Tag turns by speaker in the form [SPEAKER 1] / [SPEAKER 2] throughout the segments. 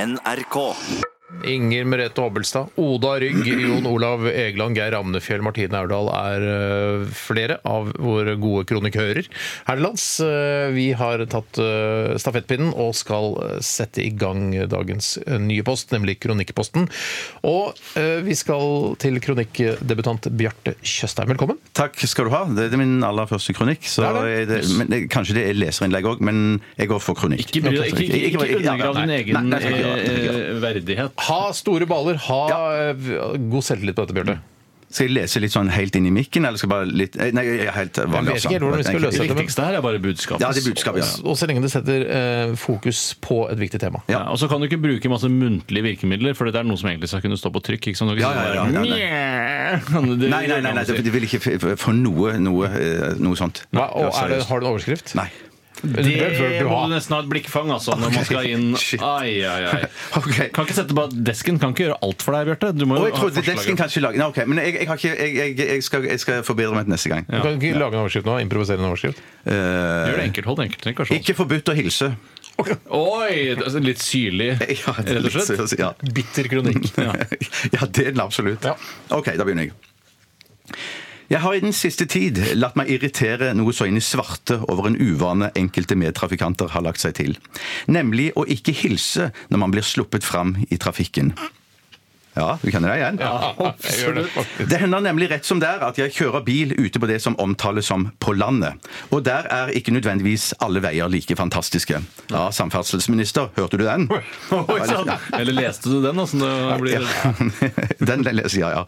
[SPEAKER 1] NRK.
[SPEAKER 2] Inger Merete Hobbelstad, Oda Rygg, Jon Olav Egeland, Geir Ramnefjell, Martine Aurdal er eh, flere av våre gode kronikører her til lands. Eh, Vi har tatt eh, stafettpinnen og skal eh, sette i gang dagens eh, nye post, nemlig Kronikkposten. Og eh, vi skal til kronikkdebutant Bjarte Tjøstheim. Velkommen.
[SPEAKER 3] Takk skal du ha. Det er min aller første kronikk. Så
[SPEAKER 2] Det er det.
[SPEAKER 3] er det, men det, kanskje det er leserinnlegg òg, men jeg går for kronikk.
[SPEAKER 4] Ikke, bry deg- ikke, ikke, ikke,
[SPEAKER 3] ja,
[SPEAKER 4] undergrav din
[SPEAKER 3] nei,
[SPEAKER 4] egen
[SPEAKER 3] nei, nei, jeg skal ikke gjøre det, jeg skal ikke gjøre
[SPEAKER 4] eh, verdighet.
[SPEAKER 2] Ha store baler, ha eh, god selvtillit på dette, Bjarte.
[SPEAKER 3] det. Skal jeg lese litt sånn helt inn i mikken, eller skal jeg bare litt eh, Nei, jeg er helt vanlig.
[SPEAKER 2] vet ikke helt hvordan vi skal løse
[SPEAKER 4] Det
[SPEAKER 2] dette, men-
[SPEAKER 4] viktigste her er bare budskapet.
[SPEAKER 3] Ja, det er budskapet. Ja.
[SPEAKER 2] Og så lenge det setter eh, fokus på et viktig tema.
[SPEAKER 3] Ja.
[SPEAKER 4] Ja, og så kan du ikke bruke masse muntlige virkemidler, for det er noe som egentlig skal kunne stå på trykk. Ikke sant? Du kan
[SPEAKER 3] Ja,
[SPEAKER 4] ikke
[SPEAKER 3] ja, ja,
[SPEAKER 4] bare,
[SPEAKER 3] ja,
[SPEAKER 4] «Mjau». Det-
[SPEAKER 3] Nei, nei, nei, nei, det det vil ikke f- f- få noe, noe, eh, noe sånt.
[SPEAKER 2] Hva, og er det,
[SPEAKER 3] Seriøst.
[SPEAKER 2] har du en overskrift?
[SPEAKER 3] Nei.
[SPEAKER 2] Det bør
[SPEAKER 4] Det
[SPEAKER 2] du
[SPEAKER 4] må du
[SPEAKER 2] ha.
[SPEAKER 4] nesten ha et blikkfang altså, når man skal inn.
[SPEAKER 3] Shit.
[SPEAKER 4] Ai, ai, ai.
[SPEAKER 3] Ok.
[SPEAKER 4] Kan ikke sette på desken kan ikke gjøre alt for deg, Bjarte. Du må
[SPEAKER 3] Og
[SPEAKER 4] jo
[SPEAKER 3] jeg trodde
[SPEAKER 4] forslag.
[SPEAKER 3] desken kanskje lager Nei, OK. Men jeg, jeg, har ikke, jeg, jeg, jeg, skal, jeg skal forbedre meg til neste gang.
[SPEAKER 2] Du kan ikke lage en overskrift nå? Improvisere en overskrift?
[SPEAKER 3] Eh,
[SPEAKER 4] Gjør det enkelt, hold det enkelt. Ikke, vær så-
[SPEAKER 3] ikke forbudt å hilse.
[SPEAKER 4] Oi! det er Litt syrlig,
[SPEAKER 3] Ja, det er
[SPEAKER 4] rett og
[SPEAKER 3] litt
[SPEAKER 4] slett.
[SPEAKER 3] seriøst, Ja.
[SPEAKER 2] Bitter kronikk.
[SPEAKER 3] ja, det er den absolutt.
[SPEAKER 2] Ja.
[SPEAKER 3] OK, da begynner jeg. Jeg har i den siste tid latt meg irritere noe så inn i svarte over en uvane enkelte medtrafikanter har lagt seg til, nemlig å ikke hilse når man blir sluppet fram i trafikken. Ja, du kjenner deg igjen?
[SPEAKER 2] Ja, jeg gjør det.
[SPEAKER 3] Det hender nemlig rett som det er at jeg kjører bil ute på det som omtales som på landet. Og der er ikke nødvendigvis alle veier like fantastiske. Ja, samferdselsminister, hørte du den?
[SPEAKER 4] Oi,
[SPEAKER 2] sånn,
[SPEAKER 4] sann. Eller leste du den? Altså, det blir...
[SPEAKER 3] Ja. Den leser jeg, ja.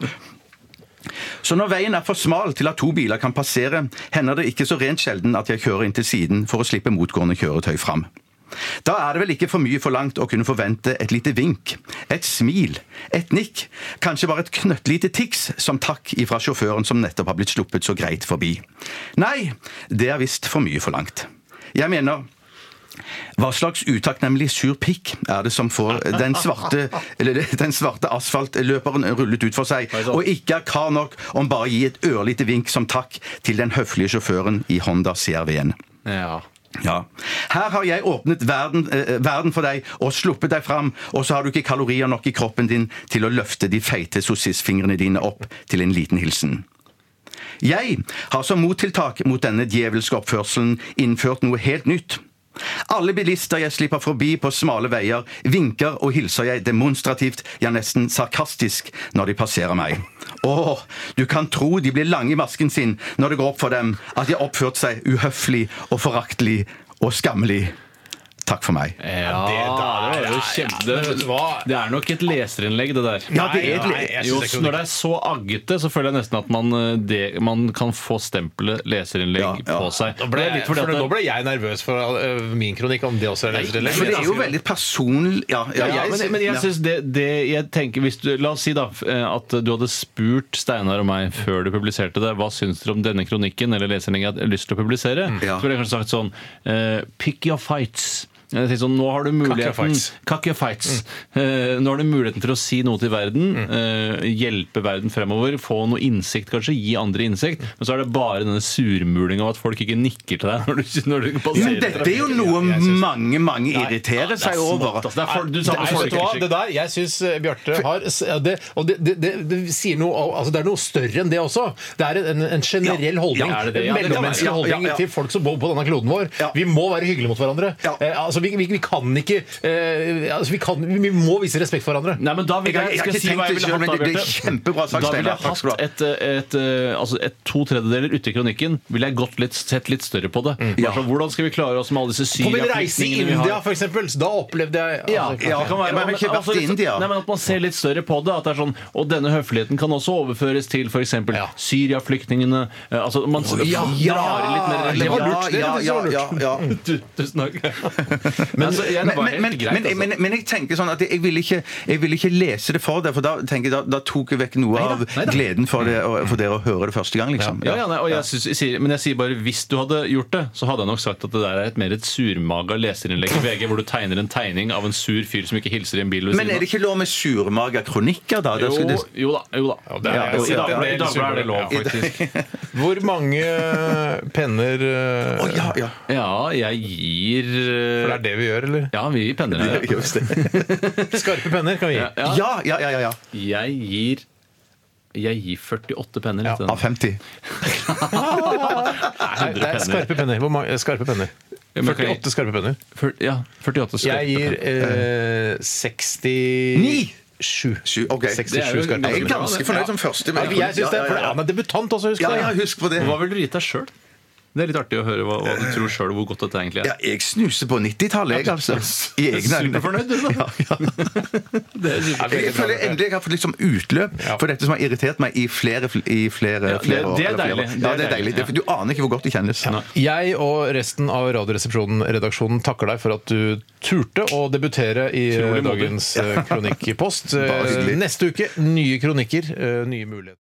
[SPEAKER 3] Så når veien er for smal til at to biler kan passere, hender det ikke så rent sjelden at jeg kjører inn til siden for å slippe motgående kjøretøy fram. Da er det vel ikke for mye forlangt å kunne forvente et lite vink, et smil, et nikk, kanskje bare et knøttlite tics som takk ifra sjåføren som nettopp har blitt sluppet så greit forbi. Nei, det er visst for mye forlangt. Jeg mener, hva slags utakknemlig sur pikk er det som får den svarte, eller den svarte asfaltløperen rullet ut for seg, og ikke er kar nok om bare å gi et ørlite vink som takk til den høflige sjåføren i Honda CRV-en?
[SPEAKER 4] Ja.
[SPEAKER 3] Ja. Her har jeg åpnet verden, eh, verden for deg og sluppet deg fram, og så har du ikke kalorier nok i kroppen din til å løfte de feite sossisfingrene dine opp til en liten hilsen. Jeg har som mottiltak mot denne djevelske oppførselen innført noe helt nytt. Alle bilister jeg slipper forbi på smale veier, vinker og hilser jeg demonstrativt, ja nesten sarkastisk, når de passerer meg. Åh, du kan tro de blir lange i masken sin når det går opp for dem at de har oppført seg uhøflig og foraktelig og skammelig. Takk for meg.
[SPEAKER 4] Ja, det, der er jo kjempe...
[SPEAKER 2] vet du
[SPEAKER 4] Det,
[SPEAKER 2] hva?
[SPEAKER 4] det er nok et leserinnlegg, det der.
[SPEAKER 3] Ja, det er et
[SPEAKER 2] Nei,
[SPEAKER 3] le-
[SPEAKER 2] jeg
[SPEAKER 4] Jo,
[SPEAKER 2] synes det er
[SPEAKER 4] når det er så aggete, så føler jeg nesten at man, eh, det, man kan få stempelet leserinnlegg
[SPEAKER 3] Ja, ja.
[SPEAKER 4] på seg.
[SPEAKER 2] Nå ble,
[SPEAKER 4] Det er
[SPEAKER 2] jeg-
[SPEAKER 4] litt
[SPEAKER 2] for
[SPEAKER 4] fordi at
[SPEAKER 2] nå
[SPEAKER 4] det-
[SPEAKER 2] ble jeg nervøs for eh, min kronikk, om det også er leserinnlegg.
[SPEAKER 3] For det er jo veldig personlig Ja, ja,
[SPEAKER 4] ja,
[SPEAKER 3] jeg
[SPEAKER 4] men,
[SPEAKER 3] sy-
[SPEAKER 4] men jeg
[SPEAKER 3] ja.
[SPEAKER 4] synes det, det jeg tenker hvis du, La oss si da f- eh, at du hadde spurt Steinar og meg før du publiserte det, hva syns dere om denne kronikken eller lesningen jeg har lyst til å publisere?
[SPEAKER 3] Mm. Ja.
[SPEAKER 4] Så ville jeg kanskje sagt sånn eh, Pick your fights. Jeg tenker Sånn, nå har du muligheten
[SPEAKER 2] your fights.
[SPEAKER 4] Cock your fights.
[SPEAKER 3] Mm.
[SPEAKER 4] Eh, nå har du muligheten til å si noe til verden. eh, hjelpe verden fremover. Få noe innsikt, kanskje. Gi andre innsikt.
[SPEAKER 3] Mm.
[SPEAKER 4] Men så er det bare denne surmulinga av at folk ikke nikker til deg når du, når du passerer.
[SPEAKER 3] Men dette er jo noe mange, mange irriterer
[SPEAKER 4] det er
[SPEAKER 3] seg over.
[SPEAKER 4] smått, ass. Det er folk- du sa
[SPEAKER 2] Nei, vet
[SPEAKER 4] på
[SPEAKER 2] du hva?
[SPEAKER 4] folkeskikk.
[SPEAKER 2] Det der, jeg syns Bjarte har s- ja, det, Og det, det, det, det sier noe om- altså Det er noe større enn det også. Det er en, en generell holdning.
[SPEAKER 4] ja, er det det?
[SPEAKER 2] en
[SPEAKER 4] Ja, det kan
[SPEAKER 2] mellommenneskelig
[SPEAKER 3] være.
[SPEAKER 2] holdning
[SPEAKER 3] Ja, ja, ja.
[SPEAKER 2] til folk som bor på denne kloden vår.
[SPEAKER 3] Ja.
[SPEAKER 2] Vi må være hyggelige mot hverandre.
[SPEAKER 3] Ja.
[SPEAKER 2] Eh, altså, vi, vi, vi kan ikke eh, altså, vi, kan, vi må vise respekt for hverandre.
[SPEAKER 4] Nei, men da vil
[SPEAKER 3] Jeg har-
[SPEAKER 4] jeg,
[SPEAKER 3] jeg har
[SPEAKER 4] skal jeg
[SPEAKER 3] ikke
[SPEAKER 4] si hva jeg
[SPEAKER 3] tenkt det
[SPEAKER 4] ville
[SPEAKER 3] selv,
[SPEAKER 4] hatt da,
[SPEAKER 3] men det- det er
[SPEAKER 4] Bjarte.
[SPEAKER 3] kjempebra sagt,
[SPEAKER 4] Da ville
[SPEAKER 3] Steinar.
[SPEAKER 4] jeg
[SPEAKER 3] Takk skal du
[SPEAKER 4] hatt
[SPEAKER 3] ha.
[SPEAKER 4] et, et, eh, altså et to tredjedeler ute i kronikken. Ville jeg gått litt, sett litt større på det.
[SPEAKER 3] Mm.
[SPEAKER 4] Bare sånn, hvordan skal vi klare oss med alle disse
[SPEAKER 2] På min reise i
[SPEAKER 4] Syria-flyktningene vi
[SPEAKER 2] India,
[SPEAKER 4] har?
[SPEAKER 2] for eksempel, så da opplevde jeg
[SPEAKER 4] Ja,
[SPEAKER 2] altså,
[SPEAKER 4] det kan være.
[SPEAKER 3] Men jeg har ikke
[SPEAKER 4] Men altså,
[SPEAKER 3] vært i India.
[SPEAKER 4] Nei, men At man ser litt større på det. At det er sånn, og denne høfligheten kan også overføres til f.eks.
[SPEAKER 2] Ja.
[SPEAKER 4] Syria-flyktningene. Eh, Altså, man
[SPEAKER 3] Ja,
[SPEAKER 4] drar i litt mer
[SPEAKER 3] det var lurt.
[SPEAKER 2] det
[SPEAKER 3] Ja,
[SPEAKER 2] synes jeg
[SPEAKER 3] ja,
[SPEAKER 2] var lurt.
[SPEAKER 3] ja, ja.
[SPEAKER 4] Du- Tusen takk. Men, altså, jeg, det
[SPEAKER 3] Men,
[SPEAKER 4] var
[SPEAKER 3] men,
[SPEAKER 4] helt
[SPEAKER 3] men,
[SPEAKER 4] greit,
[SPEAKER 3] men,
[SPEAKER 4] altså.
[SPEAKER 3] men, men jeg tenker sånn at jeg vil ikke, jeg vil ikke lese det for deg, for da, tenker jeg, da, da tok jeg vekk noe
[SPEAKER 4] Neida,
[SPEAKER 3] av
[SPEAKER 4] neida. Mm.
[SPEAKER 3] gleden for, det, og- for dere å høre det første gang, liksom.
[SPEAKER 4] Ja, ja, nei, og jeg synes, jeg sier, men jeg sier bare hvis du hadde gjort det, så hadde jeg nok sagt at det der er et mer et surmaga leserinnlegg i VG, hvor du tegner en tegning av en sur fyr som ikke hilser i en bil ved
[SPEAKER 3] Men er
[SPEAKER 4] siden
[SPEAKER 3] det ikke lov med surmaga kronikker, da? Det
[SPEAKER 4] av.
[SPEAKER 3] skal-
[SPEAKER 4] Jo,
[SPEAKER 3] det-
[SPEAKER 4] jo da. jo da.
[SPEAKER 2] det er-
[SPEAKER 4] Ja,
[SPEAKER 3] jeg
[SPEAKER 4] I
[SPEAKER 3] sier at det
[SPEAKER 4] Dagbladet
[SPEAKER 2] er
[SPEAKER 4] i Dagbladet er det lov,
[SPEAKER 2] surmaga,
[SPEAKER 4] faktisk.
[SPEAKER 2] Hvor mange penner eh,
[SPEAKER 3] Å, ja, ja.
[SPEAKER 4] Ja, jeg gir eh,
[SPEAKER 2] For det er det det vi gjør, eller?
[SPEAKER 4] Ja, vi pendler.
[SPEAKER 3] Gjør vi det?
[SPEAKER 2] Skarpe penner kan vi gi.
[SPEAKER 4] Ja.
[SPEAKER 3] Ja, ja, ja, ja, ja.
[SPEAKER 4] Jeg gir jeg gir 48 penner. til den.
[SPEAKER 3] Av 50.
[SPEAKER 4] Nei,
[SPEAKER 2] Nei,
[SPEAKER 4] 100 penner.
[SPEAKER 2] skarpe penner. Hvor mange skarpe penner?
[SPEAKER 4] Ja, men kan jeg-
[SPEAKER 2] 48 skarpe penner.
[SPEAKER 4] Fyr- Ja, 48 skarpe
[SPEAKER 2] Jeg gir eh,
[SPEAKER 4] penner.
[SPEAKER 2] 69
[SPEAKER 3] Sju, ok.
[SPEAKER 4] Det er jo
[SPEAKER 2] 67 skarpe
[SPEAKER 3] Jeg er
[SPEAKER 2] penner.
[SPEAKER 3] ganske fornøyd som første.
[SPEAKER 2] Ja,
[SPEAKER 3] men-
[SPEAKER 2] jeg synes det, for det er han er debutant også, husk
[SPEAKER 3] Ja,
[SPEAKER 2] det.
[SPEAKER 3] ja, husk på det.
[SPEAKER 4] Men Hva vil du gi deg sjøl? Det er litt artig å høre hva, hva du tror sjøl hvor godt dette egentlig
[SPEAKER 3] Ja,
[SPEAKER 4] er.
[SPEAKER 3] jeg snuser på 90-tallet, jeg, altså. I egne øyne.
[SPEAKER 4] Superfornøyd, du, da. Det er
[SPEAKER 2] Ja,
[SPEAKER 4] super.
[SPEAKER 2] veldig
[SPEAKER 3] Jeg
[SPEAKER 2] bra,
[SPEAKER 3] føler
[SPEAKER 2] Bjarte.
[SPEAKER 3] endelig jeg har fått litt sånn utløp
[SPEAKER 2] Ja.
[SPEAKER 3] for dette som har irritert meg i flere, i flere,
[SPEAKER 4] Ja, det-
[SPEAKER 3] flere år.
[SPEAKER 4] det
[SPEAKER 3] eller
[SPEAKER 4] er
[SPEAKER 3] flere
[SPEAKER 4] deilig.
[SPEAKER 3] år.
[SPEAKER 4] Det
[SPEAKER 3] Ja,
[SPEAKER 4] er
[SPEAKER 3] det er deilig.
[SPEAKER 4] deilig,
[SPEAKER 3] Det- Du aner ikke hvor godt det kjennes.
[SPEAKER 4] Nei.
[SPEAKER 2] Jeg og resten av Radioresepsjonen-redaksjonen takker deg for at du turte å debutere i eh,
[SPEAKER 4] Utrolig modig.
[SPEAKER 2] dagens eh, kronikkpost.
[SPEAKER 3] Bare hyggelig.
[SPEAKER 2] Eh, Neste uke nye kronikker, eh, nye muligheter.